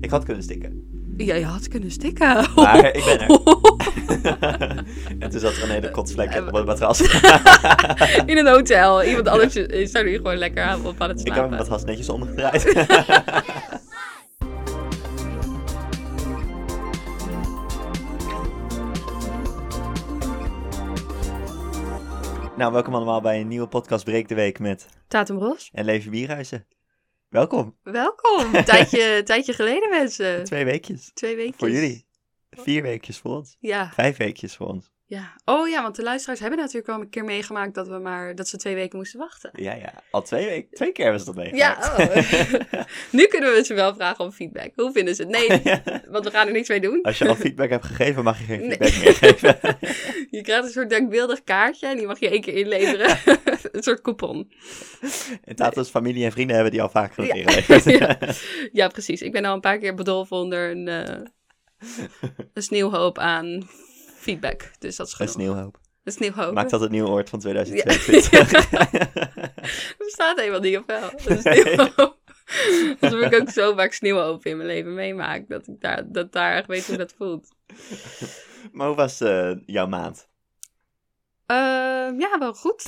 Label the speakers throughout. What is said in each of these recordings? Speaker 1: Ik had kunnen stikken.
Speaker 2: Ja, je had kunnen stikken.
Speaker 1: Maar ik ben er. en toen zat er een hele kotsvlek op het matras.
Speaker 2: In een hotel. Iemand anders is er nu gewoon lekker aan op aan het
Speaker 1: Ik heb
Speaker 2: slapen.
Speaker 1: mijn matras netjes omgedraaid. nou, welkom allemaal bij een nieuwe podcast Breek de Week met
Speaker 2: Tatum Ros,
Speaker 1: En Levi Bierhuizen. Welkom,
Speaker 2: welkom. Tijdje, tijdje geleden mensen.
Speaker 1: twee weekjes
Speaker 2: Twee weken.
Speaker 1: voor jullie. Vier weekjes voor ons.
Speaker 2: Ja,
Speaker 1: Vijf weekjes voor ons.
Speaker 2: ja. Oh ja, want de luisteraars hebben natuurlijk al een keer meegemaakt dat, we maar, dat ze twee weken moesten wachten.
Speaker 1: Ja, ja. Al twee, week, twee keer hebben ze dat
Speaker 2: Ja,
Speaker 1: meegemaakt.
Speaker 2: oh. nu kunnen we ze wel vragen om feedback. Hoe vinden ze het? Nee,
Speaker 1: Ja.
Speaker 2: want we gaan er niks mee doen.
Speaker 1: Als je al feedback hebt gegeven, mag je geen
Speaker 2: Nee.
Speaker 1: feedback meer geven.
Speaker 2: Je krijgt een soort denkbeeldig kaartje en die mag je één keer inleveren. een soort coupon.
Speaker 1: En Tato's familie en vrienden hebben die al vaak genoeg
Speaker 2: Ja.
Speaker 1: ingeleverd.
Speaker 2: Ja. Ja, precies. Ik ben al een paar keer bedolven onder een, eh, een sneeuwhoop aan feedback. Dus dat is
Speaker 1: Een
Speaker 2: genoeg.
Speaker 1: sneeuwhoop.
Speaker 2: Een sneeuwhoop.
Speaker 1: Maakt dat het nieuwe woord van
Speaker 2: Ja.
Speaker 1: 2022?
Speaker 2: Er bestaat helemaal niet of wel. Een sneeuwhoop. Alsof ik ook zo vaak sneeuwhoop in mijn leven meemaak. Dat ik daar, dat daar echt weet hoe dat voelt.
Speaker 1: maar hoe was eh, jouw maand?
Speaker 2: Ehm, ja, wel goed.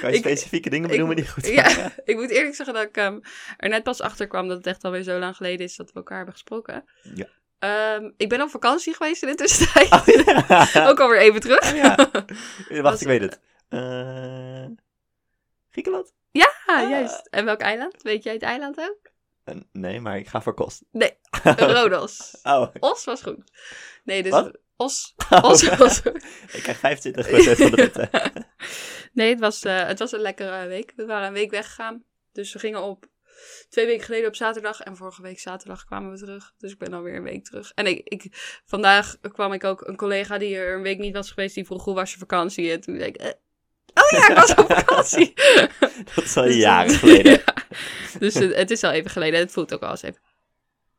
Speaker 1: Kan je
Speaker 2: Ik-
Speaker 1: specifieke dingen
Speaker 2: ik-
Speaker 1: benoemen die goed zijn?
Speaker 2: ja, ik moet eerlijk zeggen dat ik ehm, er net pas achter kwam dat het echt alweer zo lang geleden is dat we elkaar hebben gesproken.
Speaker 1: Ja.
Speaker 2: Ehm, ik ben op vakantie geweest in de tussentijd.
Speaker 1: Oh, ja.
Speaker 2: Ook alweer even terug.
Speaker 1: Oh, ja. Wacht,
Speaker 2: Was-
Speaker 1: ik weet het. Eh, Griekenland?
Speaker 2: Ah, juist. En welk eiland? Weet jij het eiland ook?
Speaker 1: Eh, nee, maar ik ga voor kost.
Speaker 2: Rodos.
Speaker 1: Oh,
Speaker 2: Os was goed. Nee, dus...
Speaker 1: Wat?
Speaker 2: Os. Os was goed.
Speaker 1: ik krijg 25% van de punten.
Speaker 2: Nee, het was, eh, het was een lekkere week. We waren een week weggegaan. Dus we gingen op twee weken geleden op zaterdag. En vorige week zaterdag kwamen we terug. Dus ik ben alweer een week terug. En ik, ik, vandaag kwam ik ook een collega die er een week niet was geweest. Die vroeg hoe was je vakantie? En toen zei ik... eh, oh ja, ik was op vakantie.
Speaker 1: Dat is al
Speaker 2: Dus-
Speaker 1: jaren geleden.
Speaker 2: Ja. Dus het, het is al even geleden. Het voelt ook al eens even.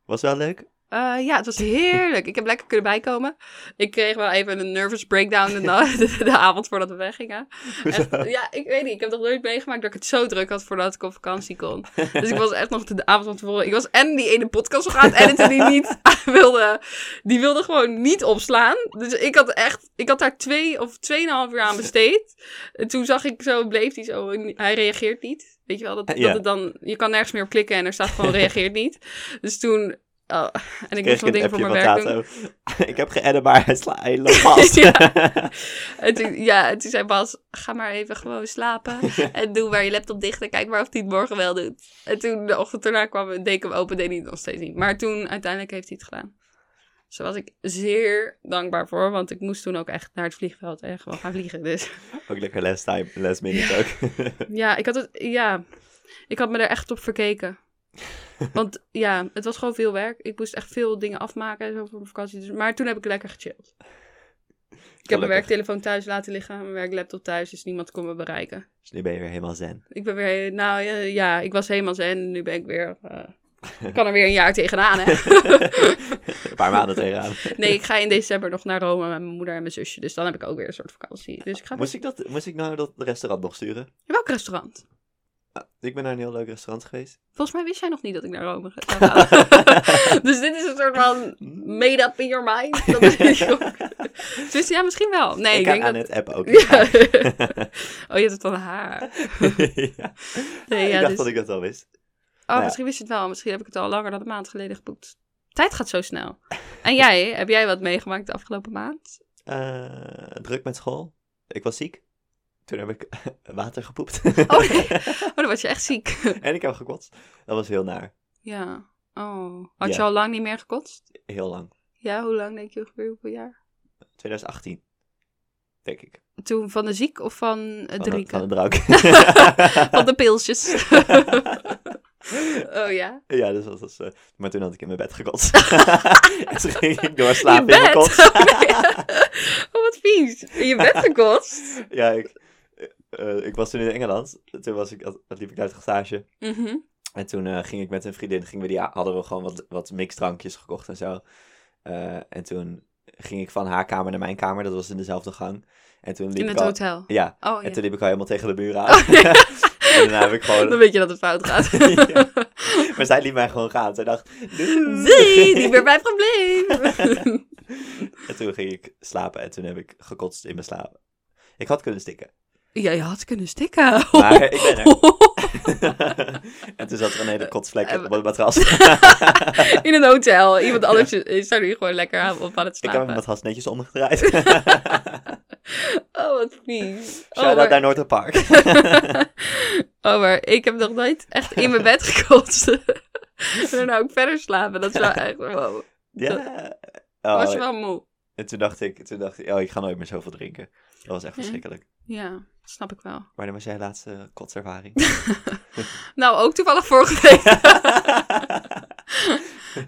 Speaker 1: Was wel leuk.
Speaker 2: Eh, ja, het was heerlijk. Ik heb lekker kunnen bijkomen. Ik kreeg wel even een nervous breakdown de, na- de, de avond voordat we weggingen. Echt, ja, ik weet niet. Ik heb nog nooit meegemaakt dat ik het zo druk had voordat ik op vakantie kon. Dus ik was echt nog de avond van tevoren. Ik was en die ene podcast nog aan het editen die niet wilde. Die wilde gewoon niet opslaan. Dus ik had echt, ik had daar twee of tweeënhalf uur aan besteed. En toen zag ik zo, bleef hij zo. en Hij reageert niet. Weet je wel, dat,
Speaker 1: Ja.
Speaker 2: dat het dan, je kan nergens meer op klikken en er staat gewoon reageert niet. Dus toen, oh, en ik
Speaker 1: Kreeg ik
Speaker 2: moest nog
Speaker 1: een
Speaker 2: dingen voor
Speaker 1: appje
Speaker 2: mijn
Speaker 1: van
Speaker 2: werk doen.
Speaker 1: Tato. Ik heb geëdit, maar hij sla- hij loopt vast.
Speaker 2: En toen, ja, en toen zei Bas, ga maar even gewoon slapen. En doe maar je laptop dicht en kijk maar of hij het morgen wel doet. En toen de ochtend daarna kwam, deed ik hem open, deed hij het nog steeds niet. Maar toen, uiteindelijk heeft hij het gedaan. Dus daar was ik zeer dankbaar voor, want ik moest toen ook echt naar het vliegveld en gewoon gaan vliegen. Dus
Speaker 1: Ook lekker last time, last minute ook.
Speaker 2: ja, ik had het, ja, ik had me er echt op verkeken. Want ja, het was gewoon veel werk. Ik moest echt veel dingen afmaken en zo voor mijn vakantie. Dus, maar toen heb ik lekker gechilled. Ik heb mijn
Speaker 1: Gelukkig.
Speaker 2: werktelefoon thuis laten liggen, mijn werklaptop thuis, dus niemand kon me bereiken.
Speaker 1: Dus nu ben je weer helemaal zen.
Speaker 2: Ik ben weer, nou ja, ja, ik was helemaal zen. Nu ben ik weer, eh, ik kan er weer een jaar tegenaan, hè.
Speaker 1: Een paar maanden tegenaan.
Speaker 2: nee, ik ga in december nog naar Rome met mijn moeder en mijn zusje. Dus dan heb ik ook weer een soort vakantie. Dus ik ga...
Speaker 1: Moest ik, dat, moest ik nou dat restaurant nog sturen?
Speaker 2: Welk restaurant?
Speaker 1: Ah, ik ben naar een heel leuk restaurant geweest.
Speaker 2: Volgens mij wist jij nog niet dat ik naar Rome zou gaan. dus dit is een soort van made up in your mind. Dat weet ik ook. dus ja, misschien wel. Nee, ik,
Speaker 1: ik
Speaker 2: denk
Speaker 1: heb aan
Speaker 2: dat...
Speaker 1: het app ook.
Speaker 2: Ja.
Speaker 1: Ja.
Speaker 2: oh, je hebt het van haar. Nee,
Speaker 1: ik
Speaker 2: ja,
Speaker 1: dacht
Speaker 2: dus-
Speaker 1: dat ik dat al wist.
Speaker 2: Oh,
Speaker 1: Nou ja.
Speaker 2: misschien wist je het wel. Misschien heb ik het al langer dan een maand geleden geboekt. Tijd gaat zo snel. En jij, heb jij wat meegemaakt de afgelopen maand?
Speaker 1: Eh, druk met school. Ik was ziek. Toen heb ik water gepoept.
Speaker 2: Oh, nee. Oh, dan was je echt ziek.
Speaker 1: en ik heb gekotst. Dat was heel naar.
Speaker 2: Ja. Oh. Had je
Speaker 1: Ja.
Speaker 2: al lang niet meer gekotst?
Speaker 1: Heel lang.
Speaker 2: Ja, hoe lang denk je ongeveer? Hoeveel jaar?
Speaker 1: 2018. Denk ik.
Speaker 2: Toen van de ziek of van het
Speaker 1: Van de,
Speaker 2: drinken?
Speaker 1: van
Speaker 2: Van
Speaker 1: de drank.
Speaker 2: de, pilsjes. oh ja.
Speaker 1: Ja, dus dat was. eh, maar toen had ik in mijn bed gekotst. en toen ging ik doorslapen
Speaker 2: Je
Speaker 1: in mijn
Speaker 2: bed.
Speaker 1: kot.
Speaker 2: Oh, nee. oh, wat vies. In je bed gekotst?
Speaker 1: ja, ik, eh, ik was toen in Engeland. Toen was ik, had- liep ik uit de stage.
Speaker 2: Mhm.
Speaker 1: En toen eh, ging ik met een vriendin, gingen we die, hadden we gewoon wat, wat mixdrankjes gekocht en zo. Eh, en toen ging ik van haar kamer naar mijn kamer, dat was in dezelfde gang. En toen liep
Speaker 2: In
Speaker 1: ik
Speaker 2: het
Speaker 1: al-
Speaker 2: hotel.
Speaker 1: Ja,
Speaker 2: Oh
Speaker 1: en
Speaker 2: ja.
Speaker 1: toen liep ik al helemaal tegen de muur aan. En daarna heb ik
Speaker 2: Dan
Speaker 1: gewoon...
Speaker 2: weet je dat het fout gaat.
Speaker 1: Ja. Maar zij liet mij gewoon gaan. Zij dacht... "Doei."
Speaker 2: Zie, niet meer mijn probleem.
Speaker 1: En toen ging ik slapen en toen heb ik gekotst in mijn slaap. Ik had kunnen stikken.
Speaker 2: Jij had kunnen stikken.
Speaker 1: Maar ik ben er. en toen zat er een hele kotsvlek
Speaker 2: Eh,
Speaker 1: op het matras.
Speaker 2: In een hotel. Iemand anders is daar nu gewoon lekker aan, op aan het
Speaker 1: ik heb
Speaker 2: slapen.
Speaker 1: mijn matras netjes omgedraaid.
Speaker 2: Oh, wat vies. Oh,
Speaker 1: Shout-out
Speaker 2: maar-
Speaker 1: naar Noorderpark.
Speaker 2: Oh, maar ik heb nog nooit echt in mijn bed gekotst. en daarna ook verder slapen. Dat is wel echt... Wow.
Speaker 1: Oh, ja.
Speaker 2: was
Speaker 1: Oh,
Speaker 2: wel moe.
Speaker 1: en toen dacht, ik, toen dacht ik, oh, ik ga nooit meer zoveel drinken. Dat was echt
Speaker 2: Ja.
Speaker 1: verschrikkelijk.
Speaker 2: Ja, snap ik wel.
Speaker 1: Maar dat was jij laatste kotservaring.
Speaker 2: Nou, ook toevallig vorige week.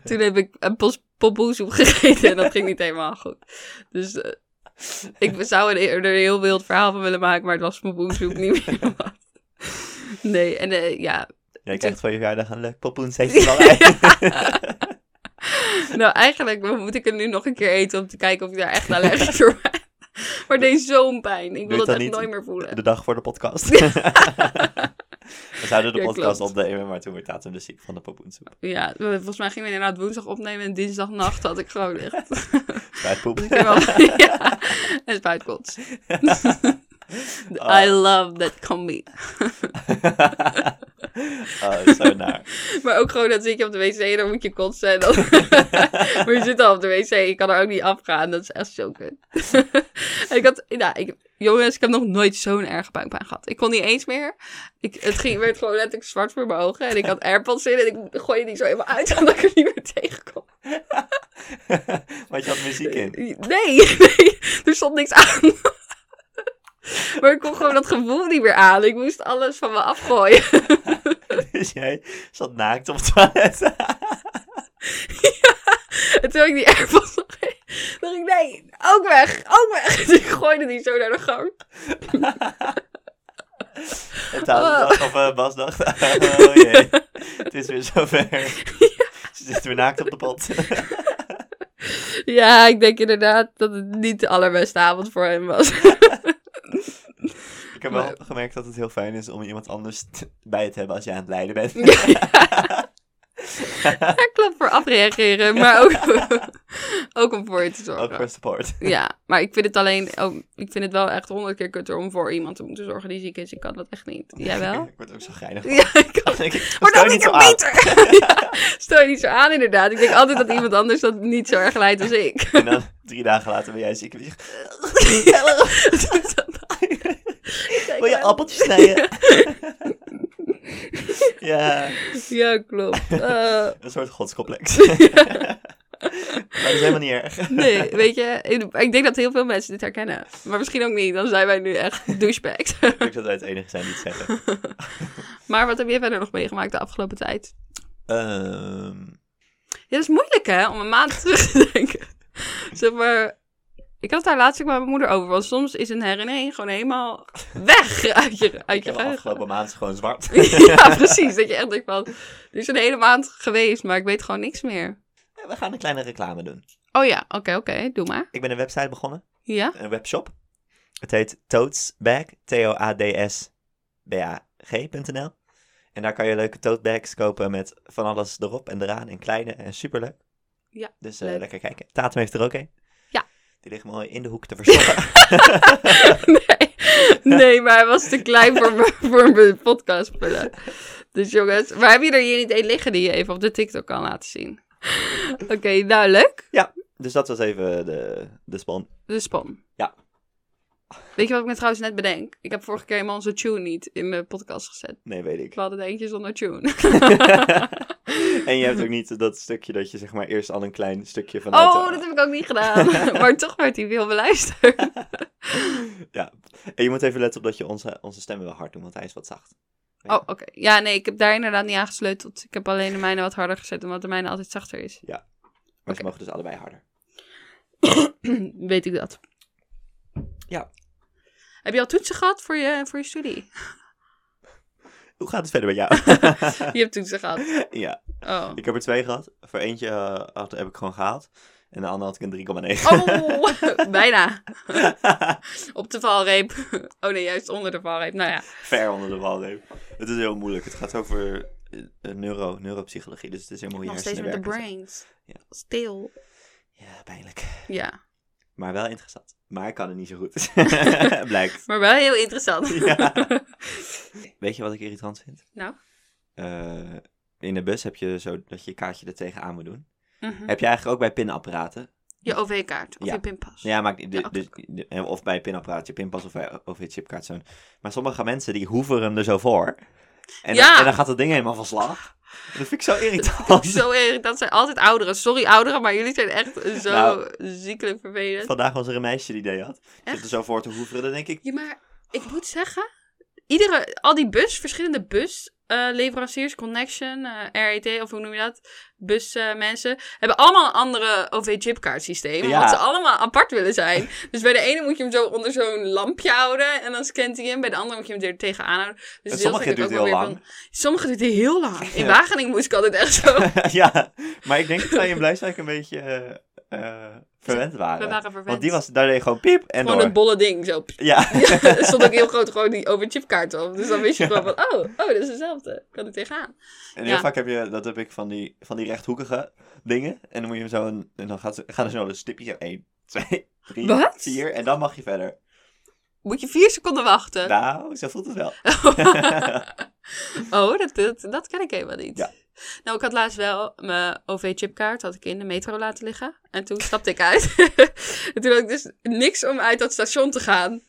Speaker 2: Toen heb ik een pos pompoensoep gegeten en dat ging niet helemaal goed. Dus eh, ik zou er eerder een heel wild verhaal van willen maken, maar het was pompoensoep niet meer wat. Nee, en eh, ja.
Speaker 1: ja, ik zeg van je verjaardag een leuk poppoensfestival. uit.
Speaker 2: Nou, eigenlijk moet ik het nu nog een keer eten om te kijken of ik daar echt allergisch voor ben. Maar deze zo'n pijn. Ik wil
Speaker 1: Doe het
Speaker 2: dat
Speaker 1: dan
Speaker 2: echt
Speaker 1: niet.
Speaker 2: nooit meer voelen.
Speaker 1: de dag voor de podcast. We zouden de
Speaker 2: Ja,
Speaker 1: podcast
Speaker 2: klopt.
Speaker 1: opnemen, maar toen werd Tatum dus ziek van de poppoensoep.
Speaker 2: Ja, volgens mij gingen we inderdaad woensdag opnemen en dinsdagnacht had ik gewoon echt...
Speaker 1: Spuitpoep.
Speaker 2: Ik heb al- ja, en spuitkots.
Speaker 1: Oh.
Speaker 2: I love that combi.
Speaker 1: oh, zo naar.
Speaker 2: Maar ook gewoon, dat zit je op de wc en dan moet je kotsen. En dan... maar je zit al op de wc, je kan er ook niet afgaan. Dat is echt zo kut. en ik had, nou, ik, jongens, ik heb nog nooit zo'n erge buikpijn gehad. Ik kon niet eens meer. Ik, het ging, werd gewoon letterlijk zwart voor mijn ogen. En ik had airpods in en ik gooide die zo even uit, omdat ik er niet meer tegen kon.
Speaker 1: Want je had muziek in.
Speaker 2: Nee, nee, er stond niks aan. Maar ik kon gewoon dat gevoel niet meer aan. Ik moest alles van me afgooien.
Speaker 1: Dus jij zat naakt op het toilet.
Speaker 2: En toen had ik die airpods nog in, dacht ik, nee, ook weg, ook weg. Dus ik gooide die zo naar de gang.
Speaker 1: En Tatum dacht, of eh, Bas dacht, oh jee, het is weer zover. Ze zit weer naakt op de pot.
Speaker 2: Ja, ik denk inderdaad dat het niet de allerbeste avond voor hem was.
Speaker 1: Ik heb wel gemerkt dat het heel fijn is om iemand anders t- bij het te hebben als je aan het lijden bent.
Speaker 2: Ja, klopt, voor afreageren, maar ook, ook om voor je te zorgen.
Speaker 1: Ook voor support.
Speaker 2: Ja, maar ik vind het alleen, ook, ik vind het wel echt honderd keer kutter om voor iemand te moeten zorgen die ziek is. Ik kan dat echt niet. Jij wel?
Speaker 1: Ik word ook zo geinig.
Speaker 2: Ja, ik kan. Maar dan is het beter. Ja, stel je niet zo aan, inderdaad. Ik denk altijd dat iemand anders dat niet zo erg leidt als ik.
Speaker 1: En dan drie dagen later ben jij ziek. en je zegt, Wil je appeltjes snijden? ja,
Speaker 2: Ja, klopt. Eh,
Speaker 1: een soort godscomplex. Maar dat is helemaal niet erg.
Speaker 2: nee, weet je, ik, ik denk dat heel veel mensen dit herkennen. Maar misschien ook niet, dan zijn wij nu echt douchebags.
Speaker 1: Ik denk dat wij het enige zijn die het zeggen.
Speaker 2: maar wat heb jij verder nog meegemaakt de afgelopen tijd?
Speaker 1: Ehm,
Speaker 2: Ja, dat is moeilijk hè, om een maand terug te denken. Zeg maar, ik had het daar laatst ook met mijn moeder over. Want soms is een herinnering gewoon helemaal weg uit je, uit
Speaker 1: ik
Speaker 2: je
Speaker 1: heb de
Speaker 2: geheugen.
Speaker 1: afgelopen maand gewoon zwart.
Speaker 2: ja, precies. Dat je echt denkt van, er is een hele maand geweest, maar ik weet gewoon niks meer.
Speaker 1: We gaan een kleine reclame doen.
Speaker 2: Oh ja, oké, oké, doe maar.
Speaker 1: Ik ben een website begonnen.
Speaker 2: Ja,
Speaker 1: Een webshop. Het heet Toadsbag. T-O-A-D-S-B-A-G.nl En daar kan je leuke totebags kopen met van alles erop en eraan. En kleine en superleuk.
Speaker 2: Ja,
Speaker 1: Dus eh,
Speaker 2: leuk.
Speaker 1: lekker kijken. Tatum heeft er ook een.
Speaker 2: Ja.
Speaker 1: Die ligt mooi in de hoek te verstoppen.
Speaker 2: nee, nee, maar hij was te klein voor, mijn- voor mijn podcast pillen. Dus jongens, maar heb je er hier niet één liggen die je even op de TikTok kan laten zien? Oké, nou leuk.
Speaker 1: dus dat was even de, de span.
Speaker 2: De spam.
Speaker 1: Ja.
Speaker 2: Weet je wat ik me trouwens net bedenk? Ik heb vorige keer helemaal onze tune niet in mijn podcast gezet.
Speaker 1: Nee, weet ik.
Speaker 2: We hadden het eentje zonder tune.
Speaker 1: en je hebt ook niet dat stukje dat je zeg maar eerst al een klein stukje van... eh,
Speaker 2: Oh, dat heb ik ook niet gedaan. maar toch werd hij veel beluisterd.
Speaker 1: Ja. En je moet even letten op dat je onze, onze stemmen wel hard doet, want hij is wat zacht.
Speaker 2: Oh, oké. Ja, nee, ik heb daar inderdaad niet aan gesleuteld. Ik heb alleen de mijne wat harder gezet, omdat de mijne altijd zachter is.
Speaker 1: Maar
Speaker 2: Oké.
Speaker 1: ze mogen dus allebei harder.
Speaker 2: Weet ik dat.
Speaker 1: Ja.
Speaker 2: Heb je al toetsen gehad voor je, voor je studie?
Speaker 1: Hoe gaat het verder met jou?
Speaker 2: Je hebt toetsen gehad.
Speaker 1: ja,
Speaker 2: Oh,
Speaker 1: ik heb er twee gehad. Voor eentje eh, had, heb ik gewoon gehaald. En de ander had ik een 3,9.
Speaker 2: Oh, bijna. Oh. Op de valreep. Oh nee, juist onder de valreep. Nou ja.
Speaker 1: Ver onder de valreep. Het is heel moeilijk. Het gaat over eh, eh, neuro, neuropsychologie. Dus het is helemaal hoe je
Speaker 2: Nog steeds
Speaker 1: hersenen
Speaker 2: met de
Speaker 1: werken.
Speaker 2: brains.
Speaker 1: Ja.
Speaker 2: Stil.
Speaker 1: Ja, pijnlijk.
Speaker 2: Ja.
Speaker 1: Maar wel interessant. Maar ik kan het niet zo goed. Blijkt.
Speaker 2: Maar wel heel interessant.
Speaker 1: Ja. Weet je wat ik irritant vind?
Speaker 2: Nou.
Speaker 1: Eh, in de bus heb je zo dat je je kaartje er tegenaan moet doen.
Speaker 2: Mhm.
Speaker 1: Heb je eigenlijk ook bij pinapparaten.
Speaker 2: Je OV-kaart of
Speaker 1: Ja.
Speaker 2: je pinpas.
Speaker 1: Ja, maar de,
Speaker 2: Ja,
Speaker 1: de- de- eh, of bij pinapparaat, je pinpas of, bij- of je chipkaart zo'n. Maar sommige mensen die hoeven hem er zo voor. En,
Speaker 2: Ja.
Speaker 1: dan, en dan gaat dat ding helemaal van slag. Dat vind ik zo irritant.
Speaker 2: Zo erg, dat zijn altijd ouderen. Sorry ouderen, maar jullie zijn echt zo
Speaker 1: Nou.
Speaker 2: ziekelijk vervelend.
Speaker 1: Vandaag was er een meisje die idee had. Zit
Speaker 2: Echt?
Speaker 1: er zo voor te hoeveren, dan denk ik...
Speaker 2: Ja, maar ik moet zeggen, iedere, al die bus, verschillende bus, eh, leveranciers, Connection, eh, RET of hoe noem je dat, busmensen, hebben allemaal een andere OV-chipkaart systeem,
Speaker 1: Ja.
Speaker 2: omdat ze allemaal apart willen zijn. dus bij de ene moet je hem zo onder zo'n lampje houden en dan scant hij hem, bij de andere moet je hem er tegenaan houden. Dus
Speaker 1: En
Speaker 2: heel
Speaker 1: sommige
Speaker 2: vind ik
Speaker 1: duurt
Speaker 2: ook
Speaker 1: heel
Speaker 2: wel weer
Speaker 1: lang.
Speaker 2: van- sommige duurt heel lang. In
Speaker 1: Ja.
Speaker 2: Wageningen moest ik altijd echt zo.
Speaker 1: ja, maar ik denk dat wij in Blijswijk een beetje eh, eh, verwend waren.
Speaker 2: We waren verwend.
Speaker 1: Want die was, daar deed je gewoon piep en
Speaker 2: Gewoon
Speaker 1: door.
Speaker 2: een bolle ding, zo.
Speaker 1: Ja.
Speaker 2: er stond ook heel groot gewoon die overchipkaart op. Dus dan wist je gewoon van, oh, oh, dat is hetzelfde. Kan ik tegenaan.
Speaker 1: En heel
Speaker 2: Ja.
Speaker 1: vaak heb je, dat heb ik van die, van die rechthoekige dingen. En dan moet je hem zo, een, en dan gaat, ze- gaan er zo een stipje. 1, 2, 3,
Speaker 2: Wat?
Speaker 1: 4. En dan mag je verder.
Speaker 2: Moet je vier seconden wachten.
Speaker 1: Nou, zo voelt het wel.
Speaker 2: oh, dat, dat, dat ken ik helemaal niet.
Speaker 1: Ja.
Speaker 2: Nou, ik had laatst wel mijn OV-chipkaart had ik in de metro laten liggen. En toen stapte ik uit. en toen had ik dus niks om uit dat station te gaan.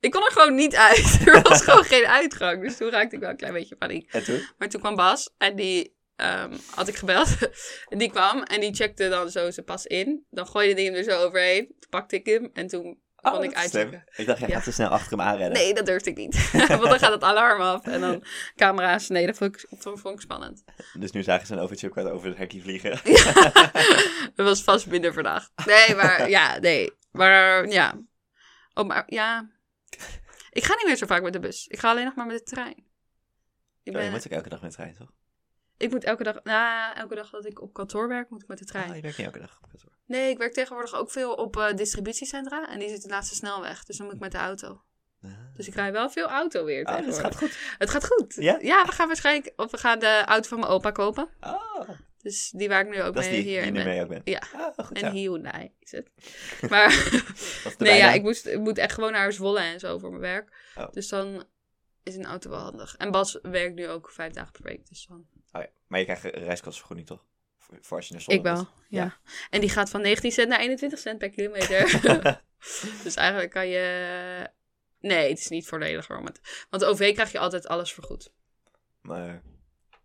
Speaker 2: Ik kon er gewoon niet uit. er was gewoon geen uitgang. Dus toen raakte ik wel een klein beetje paniek.
Speaker 1: En toen?
Speaker 2: Maar toen kwam Bas en die ehm, had ik gebeld. en die kwam en die checkte dan zo zijn pas in. Dan gooide die hem er zo overheen. Toen pakte ik hem en toen
Speaker 1: Oh,
Speaker 2: kon
Speaker 1: dat
Speaker 2: ik
Speaker 1: is slim.
Speaker 2: uitchecken.
Speaker 1: Ik dacht, jij
Speaker 2: Ja.
Speaker 1: gaat te snel achter hem aanrennen.
Speaker 2: Nee, dat durfde ik niet. Want dan gaat het alarm af en dan camera's. Nee, dat vond ik, vond, vond ik spannend.
Speaker 1: Dus nu zagen ze een overchipkaart over het hekje vliegen. Oh,
Speaker 2: Dat was vast minder verdacht. Nee, maar ja, nee. Maar ja. Oh, maar ja. Ik ga niet meer zo vaak met de bus. Ik ga alleen nog maar met de trein. Ik,
Speaker 1: Oh, je
Speaker 2: ben,
Speaker 1: moet ook elke dag met de trein, toch?
Speaker 2: ik moet elke dag, na elke dag dat ik op kantoor werk, moet ik met de trein.
Speaker 1: Ah, je werkt niet elke dag op kantoor.
Speaker 2: Nee, ik werk tegenwoordig ook veel op eh, distributiecentra. En die zitten naast de snelweg. Dus dan moet ik met de auto.
Speaker 1: Ah.
Speaker 2: Dus ik rij wel veel auto weer
Speaker 1: Oh, dat
Speaker 2: tegenwoordig.
Speaker 1: gaat goed.
Speaker 2: Het gaat goed.
Speaker 1: Ja?
Speaker 2: we gaan waarschijnlijk... Of we gaan de auto van mijn opa kopen.
Speaker 1: Oh,
Speaker 2: Dus die waar ik nu ook
Speaker 1: dat is
Speaker 2: mee
Speaker 1: die
Speaker 2: hier
Speaker 1: die
Speaker 2: in
Speaker 1: nu
Speaker 2: ben.
Speaker 1: mee ook bent.
Speaker 2: Ja.
Speaker 1: Ah, goed
Speaker 2: En
Speaker 1: zo.
Speaker 2: Hyundai is het. Maar
Speaker 1: Dat is de
Speaker 2: nee, ja,
Speaker 1: bijnaam.
Speaker 2: ik, moest, ik moet echt gewoon naar Zwolle en zo voor mijn werk.
Speaker 1: Oh.
Speaker 2: Dus dan is een auto wel handig. En Bas werkt nu ook vijf dagen per week. Dus dan...
Speaker 1: Oh, ja. Maar je krijgt een reiskostenvergoeding, toch? Voor, voor als je naar
Speaker 2: Ik
Speaker 1: Zwolle
Speaker 2: wel, ja.
Speaker 1: moet.
Speaker 2: En die gaat van 19 cent naar 21 cent per kilometer. dus eigenlijk kan je... Nee, het is niet voordelig. hoor, want- Want de OV krijg je altijd alles vergoed.
Speaker 1: Maar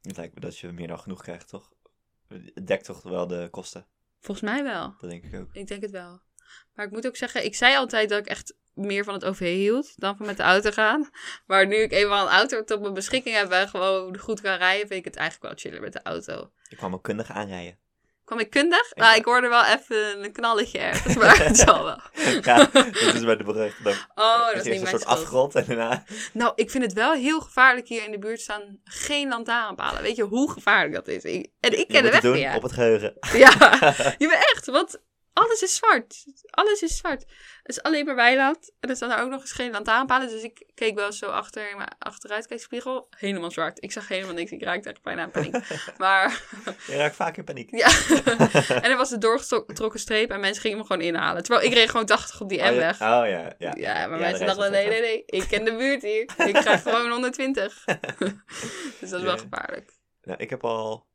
Speaker 1: het lijkt me dat je meer dan genoeg krijgt, toch? Het dekt toch wel de kosten?
Speaker 2: Volgens mij wel.
Speaker 1: Dat denk ik ook.
Speaker 2: Ik denk het wel. Maar ik moet ook zeggen, ik zei altijd dat ik echt meer van het OV hield dan van met de auto gaan. Maar nu ik eenmaal een auto tot mijn beschikking heb en gewoon goed kan rijden, vind ik het eigenlijk wel chiller met de auto.
Speaker 1: Ik kwam ook kundig aanrijden.
Speaker 2: Kwam ik kundig? Nou, ik hoorde wel even een knalletje ergens, maar het zal wel.
Speaker 1: ja, dat is bij de brug. Dan
Speaker 2: Oh, dat
Speaker 1: is eerst
Speaker 2: is niet
Speaker 1: een
Speaker 2: mijn
Speaker 1: soort
Speaker 2: schuld.
Speaker 1: afgrond en daarna...
Speaker 2: Nou, ik vind het wel heel gevaarlijk hier in de buurt staan geen lantaarnpalen. Weet je hoe gevaarlijk dat is? Ik- en ik
Speaker 1: Je moet
Speaker 2: ken de
Speaker 1: het
Speaker 2: weg
Speaker 1: doen
Speaker 2: niet. hè?
Speaker 1: op het geheugen.
Speaker 2: Ja, je bent echt, want alles is zwart. Alles is zwart. Het is alleen maar weiland. En er staan daar ook nog eens geen lantaarnpalen. Dus ik keek wel zo achter in mijn achteruitkijkspiegel. Helemaal zwart. Ik zag helemaal niks. Ik raakte echt bijna aan paniek. Maar
Speaker 1: Je raakt vaak in paniek.
Speaker 2: ja. en er was een doorgetrokken streep. En mensen gingen me gewoon inhalen. Terwijl ik reed gewoon 80 op die
Speaker 1: Oh,
Speaker 2: M-weg.
Speaker 1: ja. Oh ja, ja.
Speaker 2: Ja, maar
Speaker 1: de
Speaker 2: mensen
Speaker 1: rest
Speaker 2: dachten,
Speaker 1: is
Speaker 2: nee,
Speaker 1: wel
Speaker 2: nee, nee, ik ken de buurt hier. Ik ga gewoon 120. dus dat is wel
Speaker 1: Ja.
Speaker 2: gevaarlijk.
Speaker 1: Nou, ik heb al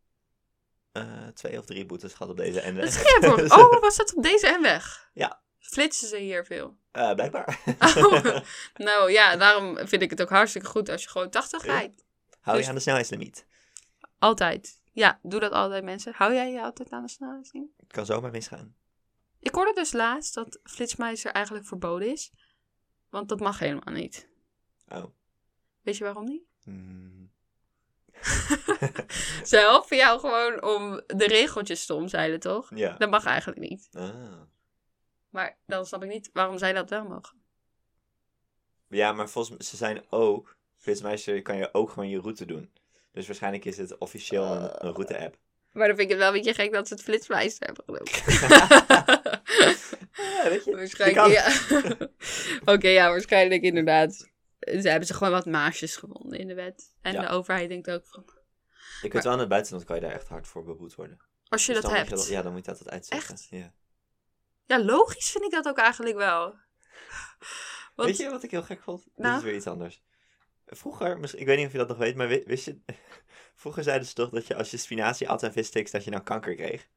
Speaker 1: eh, twee of drie boetes gehad op deze. En,
Speaker 2: Dat
Speaker 1: eh,
Speaker 2: is geen probleem. Oh, was dat op deze en weg?
Speaker 1: Ja.
Speaker 2: Flitsen ze hier veel?
Speaker 1: eh, blijkbaar.
Speaker 2: Oh, nou ja, daarom vind ik het ook hartstikke goed als je gewoon 80
Speaker 1: Ja.
Speaker 2: rijdt.
Speaker 1: Hou
Speaker 2: Dus-
Speaker 1: je aan de snelheidslimiet.
Speaker 2: Altijd. Ja, doe dat altijd mensen. Hou jij je altijd aan de snelheidslimiet?
Speaker 1: Het kan zomaar misgaan.
Speaker 2: Ik hoorde dus laatst dat flitsmeister eigenlijk verboden is. Want dat mag helemaal niet.
Speaker 1: Oh.
Speaker 2: Weet je waarom niet?
Speaker 1: Hmm.
Speaker 2: Ze helpen jou gewoon om de regeltjes te omzeilen, toch?
Speaker 1: Ja.
Speaker 2: Dat mag eigenlijk niet.
Speaker 1: Ah.
Speaker 2: Maar dan snap ik niet waarom zij dat wel mogen.
Speaker 1: Ja, maar volgens mij, ze zijn ook, volgens mij ze- kan je ook gewoon je route doen. Dus waarschijnlijk is het officieel een, een route-app.
Speaker 2: Maar dan vind ik het wel een beetje gek dat ze het flitspleister hebben genoemd.
Speaker 1: Ja, weet je.
Speaker 2: waarschijnlijk,
Speaker 1: kan.
Speaker 2: ja. Oké, ja, waarschijnlijk inderdaad. Ze hebben ze gewoon wat maasjes gewonnen in de wet. En
Speaker 1: Ja.
Speaker 2: de overheid denkt ook van,
Speaker 1: Je kunt wel in het buitenland kan je daar echt hard voor beboet worden.
Speaker 2: als je
Speaker 1: Dus
Speaker 2: dat
Speaker 1: dan moet
Speaker 2: hebt.
Speaker 1: ja, dan moet je dat uitzeggen.
Speaker 2: Echt?
Speaker 1: Ja.
Speaker 2: Ja, logisch vind ik dat ook eigenlijk wel. Want,
Speaker 1: Weet je wat ik heel gek vond? Dit
Speaker 2: Nou?
Speaker 1: is weer iets anders. Vroeger, misschien- ik weet niet of je dat nog weet, maar wi- wist je... Vroeger zeiden ze toch dat je als je spinazie at en vissticks, dat je dan kanker kreeg.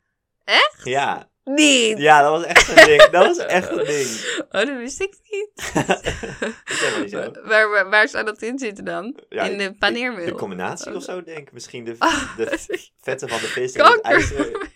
Speaker 2: Echt?
Speaker 1: Ja,
Speaker 2: Niet!
Speaker 1: ja dat was echt een ding. Dat was echt een ding.
Speaker 2: Oh, dat wist ik niet.
Speaker 1: Ik zeg maar niet zo.
Speaker 2: Waar, waar, waar zou dat in zitten dan?
Speaker 1: Ja,
Speaker 2: in de
Speaker 1: De
Speaker 2: paneermeel?
Speaker 1: combinatie of zo, denk ik. Misschien de,
Speaker 2: Oh. Ah,
Speaker 1: de vetten van de vis en het ijzer.
Speaker 2: kanker.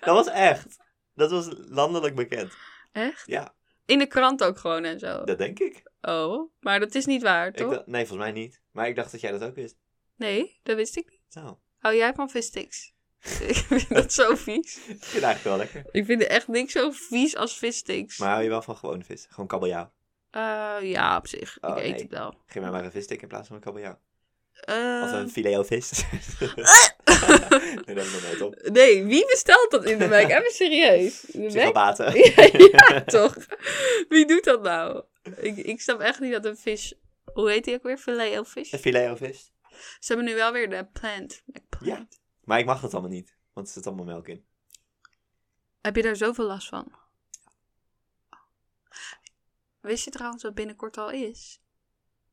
Speaker 1: Dat was echt. Dat was landelijk bekend.
Speaker 2: Echt?
Speaker 1: Ja.
Speaker 2: In de krant ook gewoon en zo.
Speaker 1: Dat denk ik.
Speaker 2: Oh, maar dat is niet waar,
Speaker 1: ik
Speaker 2: toch?
Speaker 1: dacht- nee, volgens mij niet. Maar ik dacht dat jij dat ook wist.
Speaker 2: Nee, dat wist ik niet.
Speaker 1: Nou,
Speaker 2: Hou jij van vissticks? ik vind dat zo vies.
Speaker 1: ik vind het eigenlijk wel lekker.
Speaker 2: Ik vind echt niks zo vies als vissticks.
Speaker 1: Maar hou je wel van gewone vis? Gewoon kabeljauw.
Speaker 2: Eh, ja, op zich.
Speaker 1: Oh,
Speaker 2: ik eet
Speaker 1: nee.
Speaker 2: het wel.
Speaker 1: Geef mij maar een visstick in plaats van een kabeljauw. Of
Speaker 2: Eh,
Speaker 1: een fileovis.
Speaker 2: Ah.
Speaker 1: nee, dat is nog nooit op.
Speaker 2: Ehm, nee, wie bestelt dat in de wijk? Even serieus. De wijk?
Speaker 1: Psychopaten.
Speaker 2: Ja, ja, toch? Wie doet dat nou? Ik, ik snap echt niet dat een vis... Hoe heet die ook weer? Filet of vis?
Speaker 1: Een fileovis.
Speaker 2: Ze hebben nu wel weer de plant.
Speaker 1: Ja. Maar ik mag dat allemaal niet. Want er zit allemaal melk in.
Speaker 2: Heb je daar zoveel last van? Wist je trouwens wat binnenkort al is?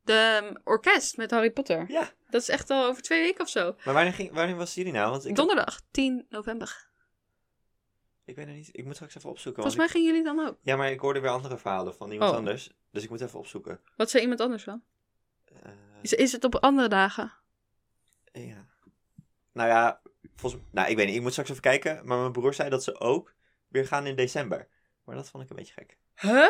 Speaker 2: De ehm, orkest met Harry Potter.
Speaker 1: Ja.
Speaker 2: Dat is echt al over twee weken of zo.
Speaker 1: Maar wanneer, ging, wanneer was jullie nou? Want ik,
Speaker 2: Donderdag, 10 november.
Speaker 1: ik weet er niet. Ik moet straks even opzoeken.
Speaker 2: Volgens
Speaker 1: want
Speaker 2: mij gingen jullie dan ook.
Speaker 1: ik- ja, maar ik hoorde weer andere verhalen van iemand
Speaker 2: Oh.
Speaker 1: anders. Dus ik moet even opzoeken.
Speaker 2: Wat zei iemand anders dan?
Speaker 1: Eh,
Speaker 2: Is, is het op andere dagen?
Speaker 1: Ja. Nou ja, volgens Nou, ik weet niet. Ik moet straks even kijken. Maar mijn broer zei dat ze ook weer gaan in december. Maar dat vond ik een beetje gek.
Speaker 2: Huh?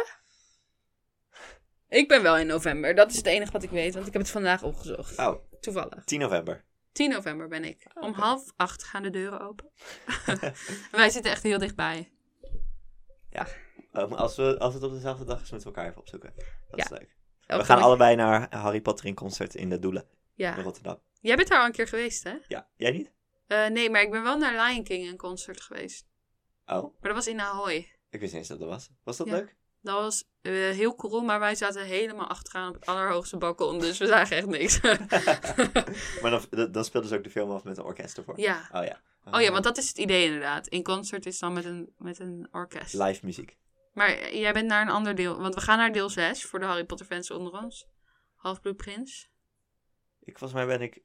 Speaker 2: Ik ben wel in november. Dat is het enige wat ik weet, want ik heb het vandaag opgezocht.
Speaker 1: Oh,
Speaker 2: Toevallig.
Speaker 1: 10 november.
Speaker 2: 10 november ben ik. Om
Speaker 1: oké.
Speaker 2: half acht gaan de deuren open. En Wij zitten echt heel dichtbij.
Speaker 1: Oh, maar als, we, als het op dezelfde dag is, moeten we elkaar even opzoeken. Dat is leuk.
Speaker 2: Elke
Speaker 1: we gaan
Speaker 2: week-
Speaker 1: allebei naar Harry Potter in concert in de Doelen in
Speaker 2: Ja.
Speaker 1: Rotterdam.
Speaker 2: Jij bent daar al een keer geweest, hè?
Speaker 1: Ja, jij niet?
Speaker 2: Eh, nee, maar ik ben wel naar Lion King een concert geweest.
Speaker 1: Oh,
Speaker 2: Maar dat was in Ahoy.
Speaker 1: ik wist niet eens dat dat was. Was dat
Speaker 2: Ja.
Speaker 1: leuk?
Speaker 2: Dat was eh, heel cool, maar wij zaten helemaal achteraan op het allerhoogste balkon. Dus we zagen echt niks.
Speaker 1: Maar dan, dan- dan speelden ze ook de film af met een orkest ervoor.
Speaker 2: ja.
Speaker 1: Oh ja.
Speaker 2: Oh ja, want dat is het idee inderdaad. In concert is dan met een, met een orkest.
Speaker 1: Live muziek.
Speaker 2: Maar jij bent naar een ander deel. Want we gaan naar deel 6 voor de Harry Potter fans onder ons. Halfbloed Prins.
Speaker 1: Ik, volgens mij ben ik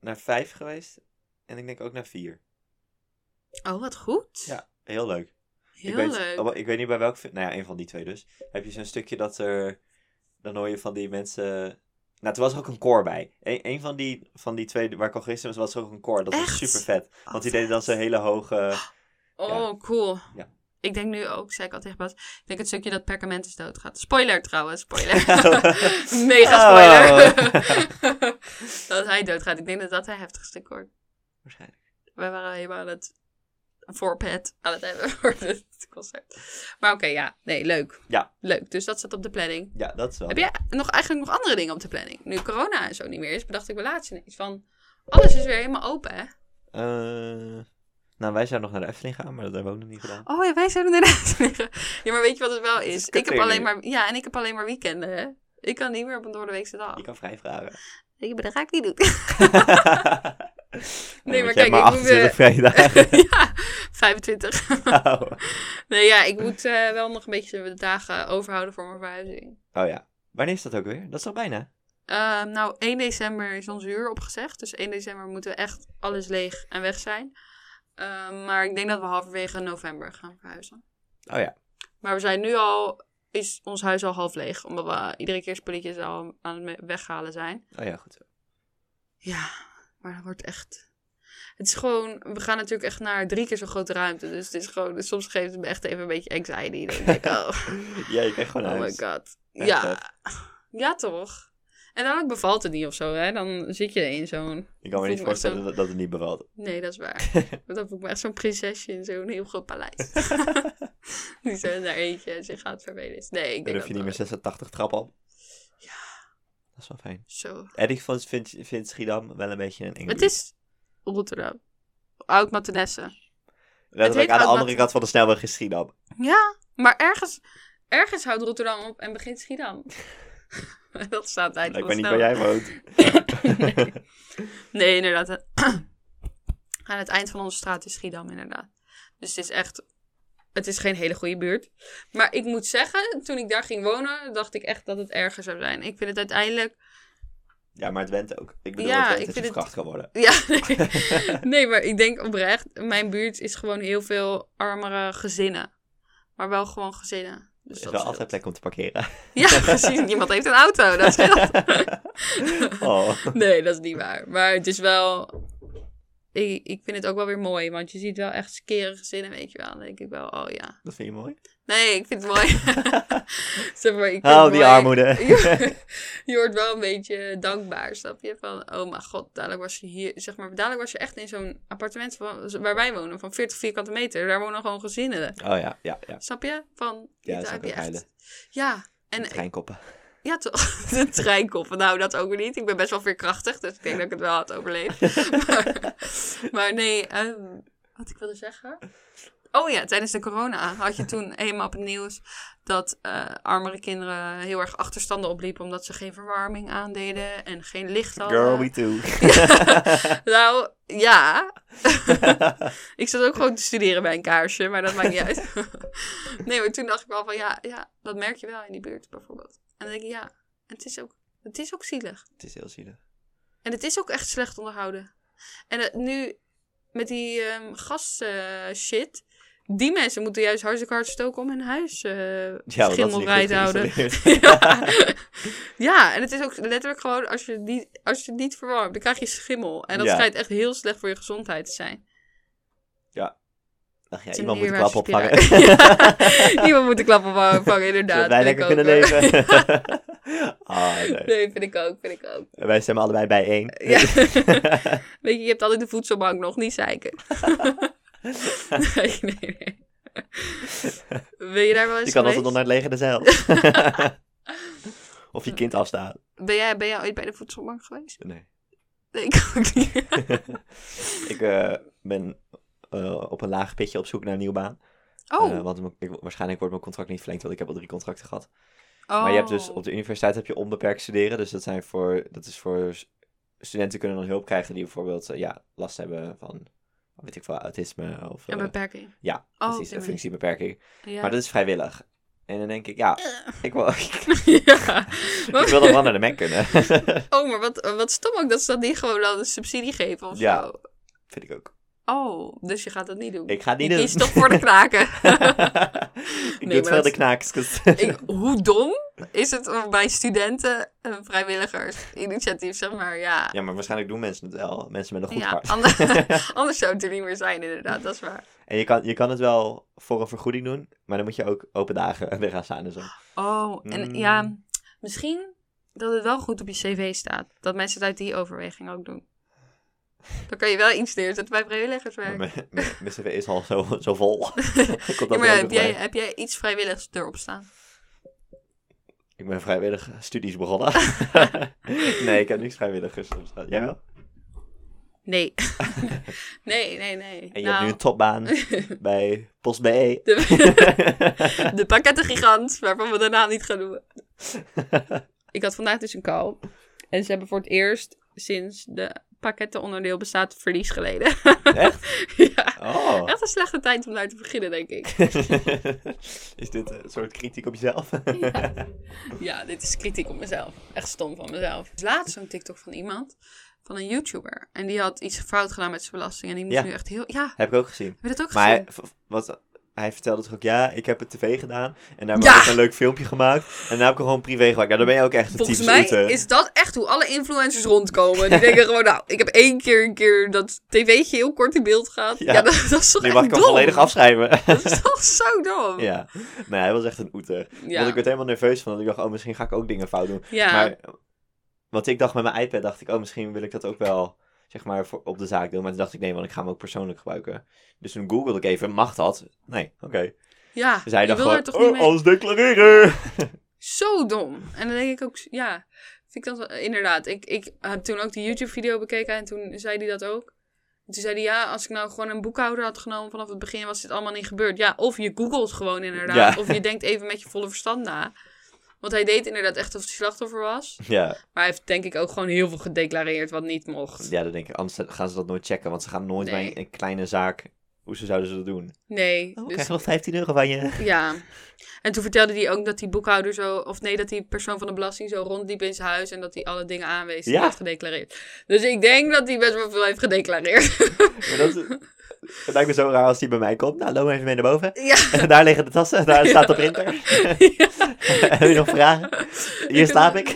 Speaker 1: naar vijf geweest. En ik denk ook naar vier.
Speaker 2: Oh, wat goed.
Speaker 1: Ja. Heel leuk.
Speaker 2: Heel
Speaker 1: ik weet,
Speaker 2: leuk.
Speaker 1: oh, Ik weet niet bij welk film. Nou ja, een van die twee dus. Heb je zo'n stukje dat er. Dan hoor je van die mensen. Nou, er was ook een koor bij. Eén een van, die, van die twee waar ik al gisteren was, was ook een koor. Dat
Speaker 2: Echt?
Speaker 1: was super vet. Want die
Speaker 2: Wat
Speaker 1: deden dan zo'n hele hoge.
Speaker 2: Oh,
Speaker 1: ja.
Speaker 2: cool.
Speaker 1: Ja.
Speaker 2: Ik denk nu ook, zei ik al tegen Bas, ik denk het stukje dat Perkament is doodgaat. Spoiler trouwens, spoiler. Mega spoiler.
Speaker 1: Oh.
Speaker 2: dat hij doodgaat. Ik denk dat dat een heftig stuk wordt.
Speaker 1: Waarschijnlijk.
Speaker 2: Wij waren helemaal aan het voorpet aan het hebben voor het concert. Maar oké, ja. Nee, leuk.
Speaker 1: Ja.
Speaker 2: Leuk. Dus dat staat op de planning.
Speaker 1: Ja, dat is wel.
Speaker 2: Heb jij nog, eigenlijk nog andere dingen op de planning? Nu corona en zo niet meer is, bedacht ik me laatst ineens van... Alles is weer helemaal open, hè?
Speaker 1: Eh, nou, wij zouden nog naar de Efteling gaan, maar dat hebben we ook nog niet gedaan.
Speaker 2: Oh ja, wij zouden inderdaad liggen. Ja, maar weet je wat het wel is?
Speaker 1: is
Speaker 2: ik heb
Speaker 1: kutweer
Speaker 2: alleen
Speaker 1: nu.
Speaker 2: maar... Ja, en ik heb alleen maar weekenden, hè? Ik kan niet meer op een doordeweekse dag.
Speaker 1: Je kan vrij vragen.
Speaker 2: Ik ben dat ga ik niet doen.
Speaker 1: nee,
Speaker 2: maar
Speaker 1: maar
Speaker 2: kijk,
Speaker 1: kijk, maar
Speaker 2: ik moet,
Speaker 1: 28
Speaker 2: eh,
Speaker 1: vrije dagen.
Speaker 2: ja, 25.
Speaker 1: Oh.
Speaker 2: Nee, ja, ik moet eh, wel nog een beetje de dagen overhouden voor mijn verhuizing.
Speaker 1: oh ja. Wanneer is dat ook weer? Dat is al bijna.
Speaker 2: Ehm, nou, 1 december is onze huur opgezegd. Dus 1 december moeten we echt alles leeg en weg zijn. Ehm, maar ik denk dat we halverwege november gaan verhuizen.
Speaker 1: Oh ja.
Speaker 2: Maar we zijn nu al, is ons huis al half leeg. Omdat we iedere keer spulletjes al aan het me- weghalen zijn.
Speaker 1: Oh ja, goed zo.
Speaker 2: Ja, maar dat wordt echt... Het is gewoon, we gaan natuurlijk echt naar drie keer zo'n grote ruimte. Dus het is gewoon, soms geeft het me echt even een beetje anxiety. Dan denk ik, oh,
Speaker 1: Ja, je krijgt gewoon een
Speaker 2: oh my
Speaker 1: huis.
Speaker 2: god.
Speaker 1: Echt
Speaker 2: ja,
Speaker 1: vet.
Speaker 2: ja toch. En dan ook bevalt het niet of zo, hè. Dan zit je in zo'n...
Speaker 1: Ik kan me
Speaker 2: Voel
Speaker 1: niet
Speaker 2: me
Speaker 1: voorstellen
Speaker 2: zo-
Speaker 1: dat, dat het niet bevalt.
Speaker 2: Nee, dat is waar. Want dan voel ik me echt zo'n prinsesje in zo'n heel groot paleis. Die zo naar eentje en zich gaat vervelen. is. Nee, ik
Speaker 1: Dan
Speaker 2: denk
Speaker 1: hoef
Speaker 2: dat
Speaker 1: je niet meer
Speaker 2: dat-
Speaker 1: 86 trap op. Dat is wel fijn.
Speaker 2: Zo.
Speaker 1: En ik vond- vind, vind Schiedam wel een beetje een enge
Speaker 2: Het
Speaker 1: buurt.
Speaker 2: is Rotterdam. oud Matenesse.
Speaker 1: Letterlijk
Speaker 2: heet
Speaker 1: aan de
Speaker 2: Oud
Speaker 1: andere
Speaker 2: Mat-
Speaker 1: kant van de snelweg is Schiedam.
Speaker 2: Ja, maar ergens, ergens houdt Rotterdam op en begint Schiedam. dat staat uit.
Speaker 1: Ik weet niet waar jij woont.
Speaker 2: nee. nee, inderdaad. Aan het eind van onze straat is Schiedam, inderdaad. Dus het is echt. Het is geen hele goede buurt. Maar ik moet zeggen, toen ik daar ging wonen, dacht ik echt dat het erger zou zijn. Ik vind het uiteindelijk.
Speaker 1: Ja, maar het went ook. Ik bedoel,
Speaker 2: Ja,
Speaker 1: het dus went
Speaker 2: ik
Speaker 1: dat je verkracht
Speaker 2: vind het-
Speaker 1: kan worden.
Speaker 2: Ja, nee. nee, maar ik denk oprecht. Mijn buurt is gewoon heel veel armere gezinnen. Maar wel gewoon gezinnen.
Speaker 1: Er
Speaker 2: Dus
Speaker 1: is
Speaker 2: dat
Speaker 1: wel
Speaker 2: scheelt.
Speaker 1: altijd plek om te parkeren.
Speaker 2: Ja, precies. Niemand heeft een auto. Dat scheelt.
Speaker 1: Oh.
Speaker 2: Nee, dat is niet waar. Maar het is wel. Ik, ik vind het ook wel weer mooi, want je ziet wel echt skere gezinnen, weet je wel. Dan denk ik wel, oh ja.
Speaker 1: Dat vind je mooi?
Speaker 2: Nee, ik vind het mooi. zeg maar, ik vind
Speaker 1: Oh,
Speaker 2: het
Speaker 1: die
Speaker 2: mooi.
Speaker 1: armoede.
Speaker 2: Je, je wordt wel een beetje dankbaar, snap je? Van, oh mijn god, dadelijk was je hier, zeg maar, dadelijk was je echt in zo'n appartement van, waar wij wonen, van 40 vierkante meter. Daar wonen gewoon gezinnen.
Speaker 1: Oh ja, ja, ja.
Speaker 2: Snap je? Van,
Speaker 1: Ja,
Speaker 2: daar
Speaker 1: dat
Speaker 2: heb
Speaker 1: zou ik
Speaker 2: je
Speaker 1: ook
Speaker 2: echt-
Speaker 1: huilen.
Speaker 2: Ja, en
Speaker 1: De Treinkoppen.
Speaker 2: ja, toch? De treinkoppen. Nou, dat ook weer niet. Ik ben best wel veerkrachtig, dus ik denk dat ik het wel had overleefd. maar, maar nee, ehm, wat ik wilde zeggen. Oh ja, tijdens de corona had je toen helemaal op het nieuws dat eh, armere kinderen heel erg achterstanden opliepen omdat ze geen verwarming aandeden en geen licht hadden.
Speaker 1: Girl, we too.
Speaker 2: Nou, ja. ik zat ook gewoon te studeren bij een kaarsje, maar dat maakt niet uit. nee, maar toen dacht ik wel van, ja, ja, dat merk je wel in die buurt bijvoorbeeld. En dan denk ik, ja, het is ook, het is ook zielig.
Speaker 1: het is heel zielig.
Speaker 2: En het is ook echt slecht onderhouden. En eh, nu, met die ehm gas eh, shit, die mensen moeten juist hartstikke hard stoken om hun huis eh
Speaker 1: Ja, want dat is niet
Speaker 2: schimmelvrij
Speaker 1: goed
Speaker 2: te houden.
Speaker 1: geïsoleerd.
Speaker 2: ja. ja, en het is ook letterlijk gewoon als je het niet, als je het niet verwarmt, dan krijg je schimmel. En dat
Speaker 1: Ja.
Speaker 2: schijnt echt heel slecht voor je gezondheid te zijn.
Speaker 1: Ach ja,
Speaker 2: Het is
Speaker 1: iemand
Speaker 2: een
Speaker 1: moet de klap opvangen.
Speaker 2: dierwaarschuwing. ja, iemand moet de klap opvangen, inderdaad.
Speaker 1: Zodat wij
Speaker 2: vind
Speaker 1: lekker
Speaker 2: ik
Speaker 1: kunnen
Speaker 2: ook, hoor.
Speaker 1: leven. Ah, leuk.
Speaker 2: Nee, vind ik ook, vind ik ook.
Speaker 1: Wij stemmen allebei bijeen.
Speaker 2: Ja. Weet je, je hebt altijd de voedselbank nog, niet zeiken. nee, nee, nee. Wil je daar wel eens
Speaker 1: Je kan altijd
Speaker 2: geweest?
Speaker 1: nog naar het leger zelf. of je kind afstaan.
Speaker 2: ben, jij, ben jij ooit bij de voedselbank geweest?
Speaker 1: Nee.
Speaker 2: Nee, ik ook niet.
Speaker 1: ik eh, ben eh, op een laag pitje op zoek naar een nieuwe baan.
Speaker 2: Oh,
Speaker 1: Eh, want m- ik, waarschijnlijk wordt mijn contract niet verlengd, want ik heb al drie contracten gehad.
Speaker 2: oh.
Speaker 1: Maar je hebt dus op de universiteit heb je onbeperkt studeren. Dus dat, zijn voor, dat is voor s- studenten kunnen dan hulp krijgen die bijvoorbeeld eh, ja, last hebben van weet ik veel, autisme of
Speaker 2: Een
Speaker 1: eh,
Speaker 2: beperking.
Speaker 1: ja,
Speaker 2: Oh, op
Speaker 1: precies,
Speaker 2: die
Speaker 1: een
Speaker 2: manier.
Speaker 1: functiebeperking.
Speaker 2: Ja.
Speaker 1: Maar dat is vrijwillig. En dan denk ik, ja, ik wil,
Speaker 2: ja.
Speaker 1: ik wil nog wel naar de Mac kunnen.
Speaker 2: Oh, maar wat, wat stom ook dat ze dat niet gewoon dan een subsidie geven of
Speaker 1: Ja.
Speaker 2: zo.
Speaker 1: Vind ik ook.
Speaker 2: Oh, dus je gaat dat niet doen.
Speaker 1: Ik ga het
Speaker 2: Je
Speaker 1: niet doen.
Speaker 2: kiest toch voor de kraken.
Speaker 1: ik
Speaker 2: maar
Speaker 1: doe het wel
Speaker 2: dat
Speaker 1: de dus-
Speaker 2: is-
Speaker 1: knaakskes.
Speaker 2: Ik, hoe dom is het om bij studenten en vrijwilligers initiatief, zeg maar, ja.
Speaker 1: Ja, maar waarschijnlijk doen mensen het wel. Mensen met een goed
Speaker 2: Ja,
Speaker 1: hart.
Speaker 2: ander- anders, zou het er niet meer zijn, inderdaad, dat is waar.
Speaker 1: En je kan, je kan het wel voor een vergoeding doen, maar dan moet je ook open dagen weer gaan staan en zo.
Speaker 2: Oh, en
Speaker 1: Mm.
Speaker 2: ja, misschien dat het wel goed op je cv staat. Dat mensen het uit die overweging ook doen. Dan kan je wel iets neerzetten bij
Speaker 1: Maar
Speaker 2: vrijwilligerswerk.
Speaker 1: Mijn mijn- mijn cv is al zo, zo vol. Ik, kom
Speaker 2: Ja,
Speaker 1: dat
Speaker 2: maar
Speaker 1: wel
Speaker 2: heb
Speaker 1: nog
Speaker 2: jij,
Speaker 1: bij.
Speaker 2: heb jij iets vrijwilligers erop staan?
Speaker 1: ik ben vrijwillig studies begonnen. nee, ik heb niks vrijwilligers. op staan. Jij wel?
Speaker 2: Nee. nee, nee, nee.
Speaker 1: En je hebt
Speaker 2: Nou,
Speaker 1: nu een topbaan bij PostBE.
Speaker 2: de, de pakketengigant, waarvan we de naam niet gaan noemen. Ik had vandaag dus een call. En ze hebben voor het eerst sinds de pakkettenonderdeel bestaat verlies geleden.
Speaker 1: Echt?
Speaker 2: ja.
Speaker 1: Oh.
Speaker 2: Echt een slechte tijd om daar te beginnen, denk ik.
Speaker 1: is dit een soort kritiek op jezelf?
Speaker 2: Ja, dit is kritiek op mezelf. Echt stom van mezelf. Laatst zo'n TikTok van iemand, van een YouTuber. En die had iets fout gedaan met zijn belasting. En die moest
Speaker 1: Ja.
Speaker 2: nu echt heel... Ja,
Speaker 1: heb ik ook gezien.
Speaker 2: heb je dat ook
Speaker 1: Maar hij,
Speaker 2: gezien?
Speaker 1: v- wat, hij vertelde toch ook, ja, ik heb een tv gedaan. En daar
Speaker 2: Ja!
Speaker 1: heb ik een leuk filmpje gemaakt. En daarna heb ik gewoon privé gemaakt. Nou, dan ben je ook echt een
Speaker 2: Volgens
Speaker 1: typische
Speaker 2: mij
Speaker 1: Ute.
Speaker 2: is dat echt hoe alle influencers rondkomen. Die denken gewoon, nou, ik heb één keer een keer dat tv'tje heel kort in beeld gehad. Ja,
Speaker 1: Ja.
Speaker 2: dat, dat is toch
Speaker 1: Nu
Speaker 2: echt
Speaker 1: mag ik hem
Speaker 2: dom?
Speaker 1: volledig afschrijven.
Speaker 2: Dat is toch zo dom?
Speaker 1: ja. Nee, hij was echt een oeter.
Speaker 2: Ja.
Speaker 1: Want ik werd helemaal nerveus van. dat Ik dacht, oh, misschien ga ik ook dingen fout doen.
Speaker 2: Ja.
Speaker 1: Maar, want ik dacht met mijn iPad, dacht ik, oh, misschien wil ik dat ook wel, zeg maar, voor, op de zaak doen. Maar toen dacht ik, nee, want ik ga hem ook persoonlijk gebruiken. Dus toen googelde ik even, mag dat? Nee, oké.
Speaker 2: Ja,
Speaker 1: Dus hij
Speaker 2: je
Speaker 1: dacht
Speaker 2: wil daar
Speaker 1: gewoon,
Speaker 2: toch niet
Speaker 1: oh,
Speaker 2: mee?
Speaker 1: alles declareren!
Speaker 2: Zo dom. En dan denk ik ook, ja, vind ik dat wel- inderdaad. Ik, ik heb toen ook die YouTube-video bekeken en toen zei hij dat ook. En toen zei hij, ja, als ik nou gewoon een boekhouder had genomen vanaf het begin, was dit allemaal niet gebeurd. Ja, of je googelt gewoon inderdaad,
Speaker 1: Ja.
Speaker 2: of je denkt even met je volle verstand na. Want hij deed inderdaad echt alsof hij slachtoffer was.
Speaker 1: Ja,
Speaker 2: Maar hij heeft denk ik ook gewoon heel veel gedeclareerd wat niet mocht.
Speaker 1: ja, dat denk ik. Anders gaan ze dat nooit checken, want ze gaan nooit bij
Speaker 2: Nee.
Speaker 1: een, een kleine zaak... Hoe ze zouden ze dat doen?
Speaker 2: Nee,
Speaker 1: Oh,
Speaker 2: dus
Speaker 1: krijg je nog 15 euro van je?
Speaker 2: Ja. En toen vertelde hij ook dat die boekhouder zo, of nee, dat die persoon van de belasting zo rondliep in zijn huis en dat hij alle dingen aanwees die
Speaker 1: Ja.
Speaker 2: hij had gedeclareerd. Dus ik denk dat hij best wel veel heeft gedeclareerd.
Speaker 1: Maar dat is- het lijkt me zo raar als die bij mij komt. Nou, loop even mee naar boven.
Speaker 2: ja.
Speaker 1: daar liggen de tassen, daar staat de
Speaker 2: Ja.
Speaker 1: printer.
Speaker 2: Ja.
Speaker 1: Heb je nog vragen? Hier slaap ik.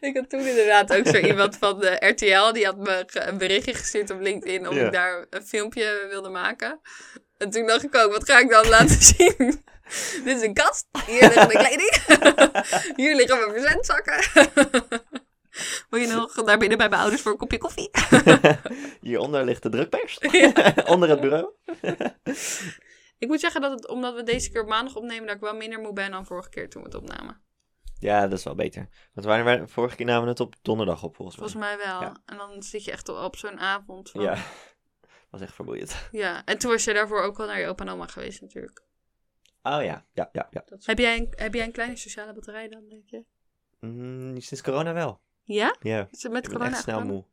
Speaker 2: ik had toen inderdaad ook zo iemand van eh, de RTL, die had me ge- een berichtje gestuurd op LinkedIn om
Speaker 1: Ja.
Speaker 2: ik daar een filmpje wilde maken. En toen dacht ik ook, wat ga ik dan laten zien? Dit is een kast, hier liggen mijn kleding, hier liggen mijn verzendzakken. Wil je nog daar binnen bij mijn ouders voor een kopje koffie?
Speaker 1: Hieronder ligt de drukpers.
Speaker 2: Ja.
Speaker 1: Onder het bureau.
Speaker 2: Ik moet zeggen dat het, omdat we deze keer op maandag opnemen, dat ik wel minder moe ben dan vorige keer toen we het opnamen.
Speaker 1: Ja, dat is wel beter. Want wanneer waren- vorige keer namen we het op donderdag op, volgens mij.
Speaker 2: Volgens mij wel.
Speaker 1: Ja.
Speaker 2: En dan zit je echt op, op zo'n avond. van-
Speaker 1: Ja, was echt vermoeiend.
Speaker 2: Ja, en toen was je daarvoor ook wel naar je opa en oma geweest natuurlijk.
Speaker 1: Oh ja, ja, ja, ja.
Speaker 2: Heb, jij een, heb jij een kleine sociale batterij dan, denk je?
Speaker 1: Mm, sinds corona wel.
Speaker 2: Ja?
Speaker 1: Ja,
Speaker 2: Is het met
Speaker 1: ik ben
Speaker 2: corona
Speaker 1: echt snel
Speaker 2: gedaan?
Speaker 1: moe.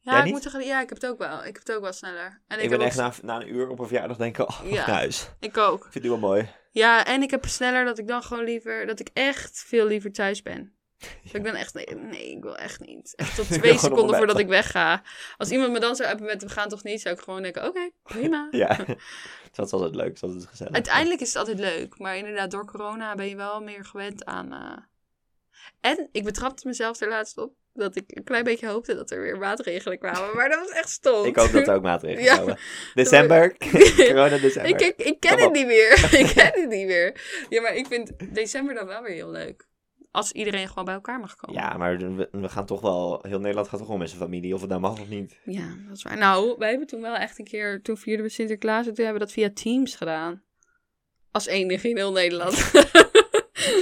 Speaker 1: Jij
Speaker 2: Ja, ik
Speaker 1: niet?
Speaker 2: moet zeggen, ja, ik heb het ook wel. Ik heb het ook wel sneller. En ik,
Speaker 1: Ik ben
Speaker 2: heb
Speaker 1: echt
Speaker 2: ook,
Speaker 1: na, na een uur op een verjaardag denk ik, oh,
Speaker 2: Ja.
Speaker 1: naar huis.
Speaker 2: ik ook.
Speaker 1: Ik vind het wel mooi.
Speaker 2: Ja, en ik heb sneller dat ik dan gewoon liever, dat ik echt veel liever thuis ben. Dat ik dan echt, nee, nee, ik wil echt niet. Echt tot
Speaker 1: Ik wil
Speaker 2: twee
Speaker 1: gewoon op
Speaker 2: seconden
Speaker 1: mijn
Speaker 2: voordat
Speaker 1: bed.
Speaker 2: ik wegga. Als iemand me dan zou hebben met, we gaan toch niet, zou ik gewoon denken, oké, prima.
Speaker 1: Ja, dat was altijd leuk, dat was altijd gezellig.
Speaker 2: Uiteindelijk is het altijd leuk, maar inderdaad, door corona ben je wel meer gewend aan. eh, En ik betrapte mezelf er laatst op dat ik een klein beetje hoopte dat er weer maatregelen kwamen, maar dat was echt stom.
Speaker 1: Ik hoop dat er ook maatregelen
Speaker 2: Ja.
Speaker 1: komen. December, corona december.
Speaker 2: Ik, ik, ik ken
Speaker 1: Kom
Speaker 2: het
Speaker 1: op.
Speaker 2: niet meer. ik ken het niet meer. Ja, maar ik vind december dan wel weer heel leuk. Als iedereen gewoon bij elkaar mag komen.
Speaker 1: Ja, maar we, we gaan toch wel, heel Nederland gaat toch wel met zijn familie, of het nou mag of niet.
Speaker 2: Ja, dat is waar. Nou, wij hebben toen wel echt een keer, toen vierden we Sinterklaas en toen hebben we dat via Teams gedaan. Als enige in heel Nederland.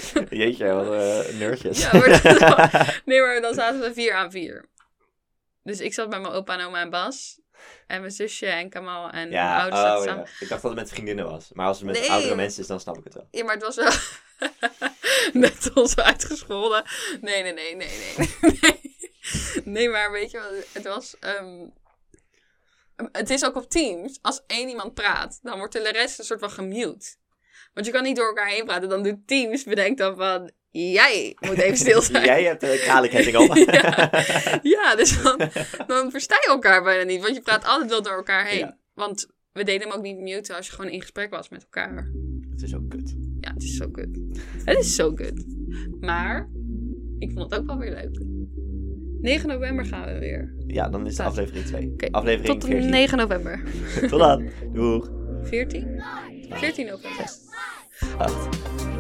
Speaker 1: Jeetje, wat eh nerdjes.
Speaker 2: Ja, maar dat- Nee, maar dan zaten we vier aan vier. Dus ik zat bij mijn opa en oma en Bas. En mijn zusje en Kamal en
Speaker 1: Ja,
Speaker 2: mijn ouders zaten
Speaker 1: oh,
Speaker 2: samen.
Speaker 1: ja. ik dacht dat het met vriendinnen was. Maar als het met
Speaker 2: Nee.
Speaker 1: oudere mensen is, dan snap ik het wel.
Speaker 2: Ja. maar het was wel net ons uitgescholden. Nee, nee, nee, nee, nee. Nee, nee maar weet je wat, het was... ehm, het is ook op Teams, als één iemand praat, dan wordt de rest een soort van gemute. Want je kan niet door elkaar heen praten, dan doet Teams, bedenkt dan van, jij moet even stil zijn.
Speaker 1: Jij hebt eh, een kralenketting op.
Speaker 2: Ja. Ja, dus dan, dan versta je elkaar bijna niet. Want je praat altijd wel door elkaar heen.
Speaker 1: Ja.
Speaker 2: Want we deden hem ook niet muten als je gewoon in gesprek was met elkaar.
Speaker 1: Het is ook kut.
Speaker 2: Ja, het is zo kut. Het is zo kut. Maar ik vond het ook wel weer leuk. 9 november gaan we weer.
Speaker 1: Ja, dan is het aflevering 2.
Speaker 2: Oké,
Speaker 1: Aflevering
Speaker 2: Tot
Speaker 1: 14.
Speaker 2: 9 november.
Speaker 1: Tot dan. Doeg.
Speaker 2: 14? 14 november.
Speaker 1: Acht.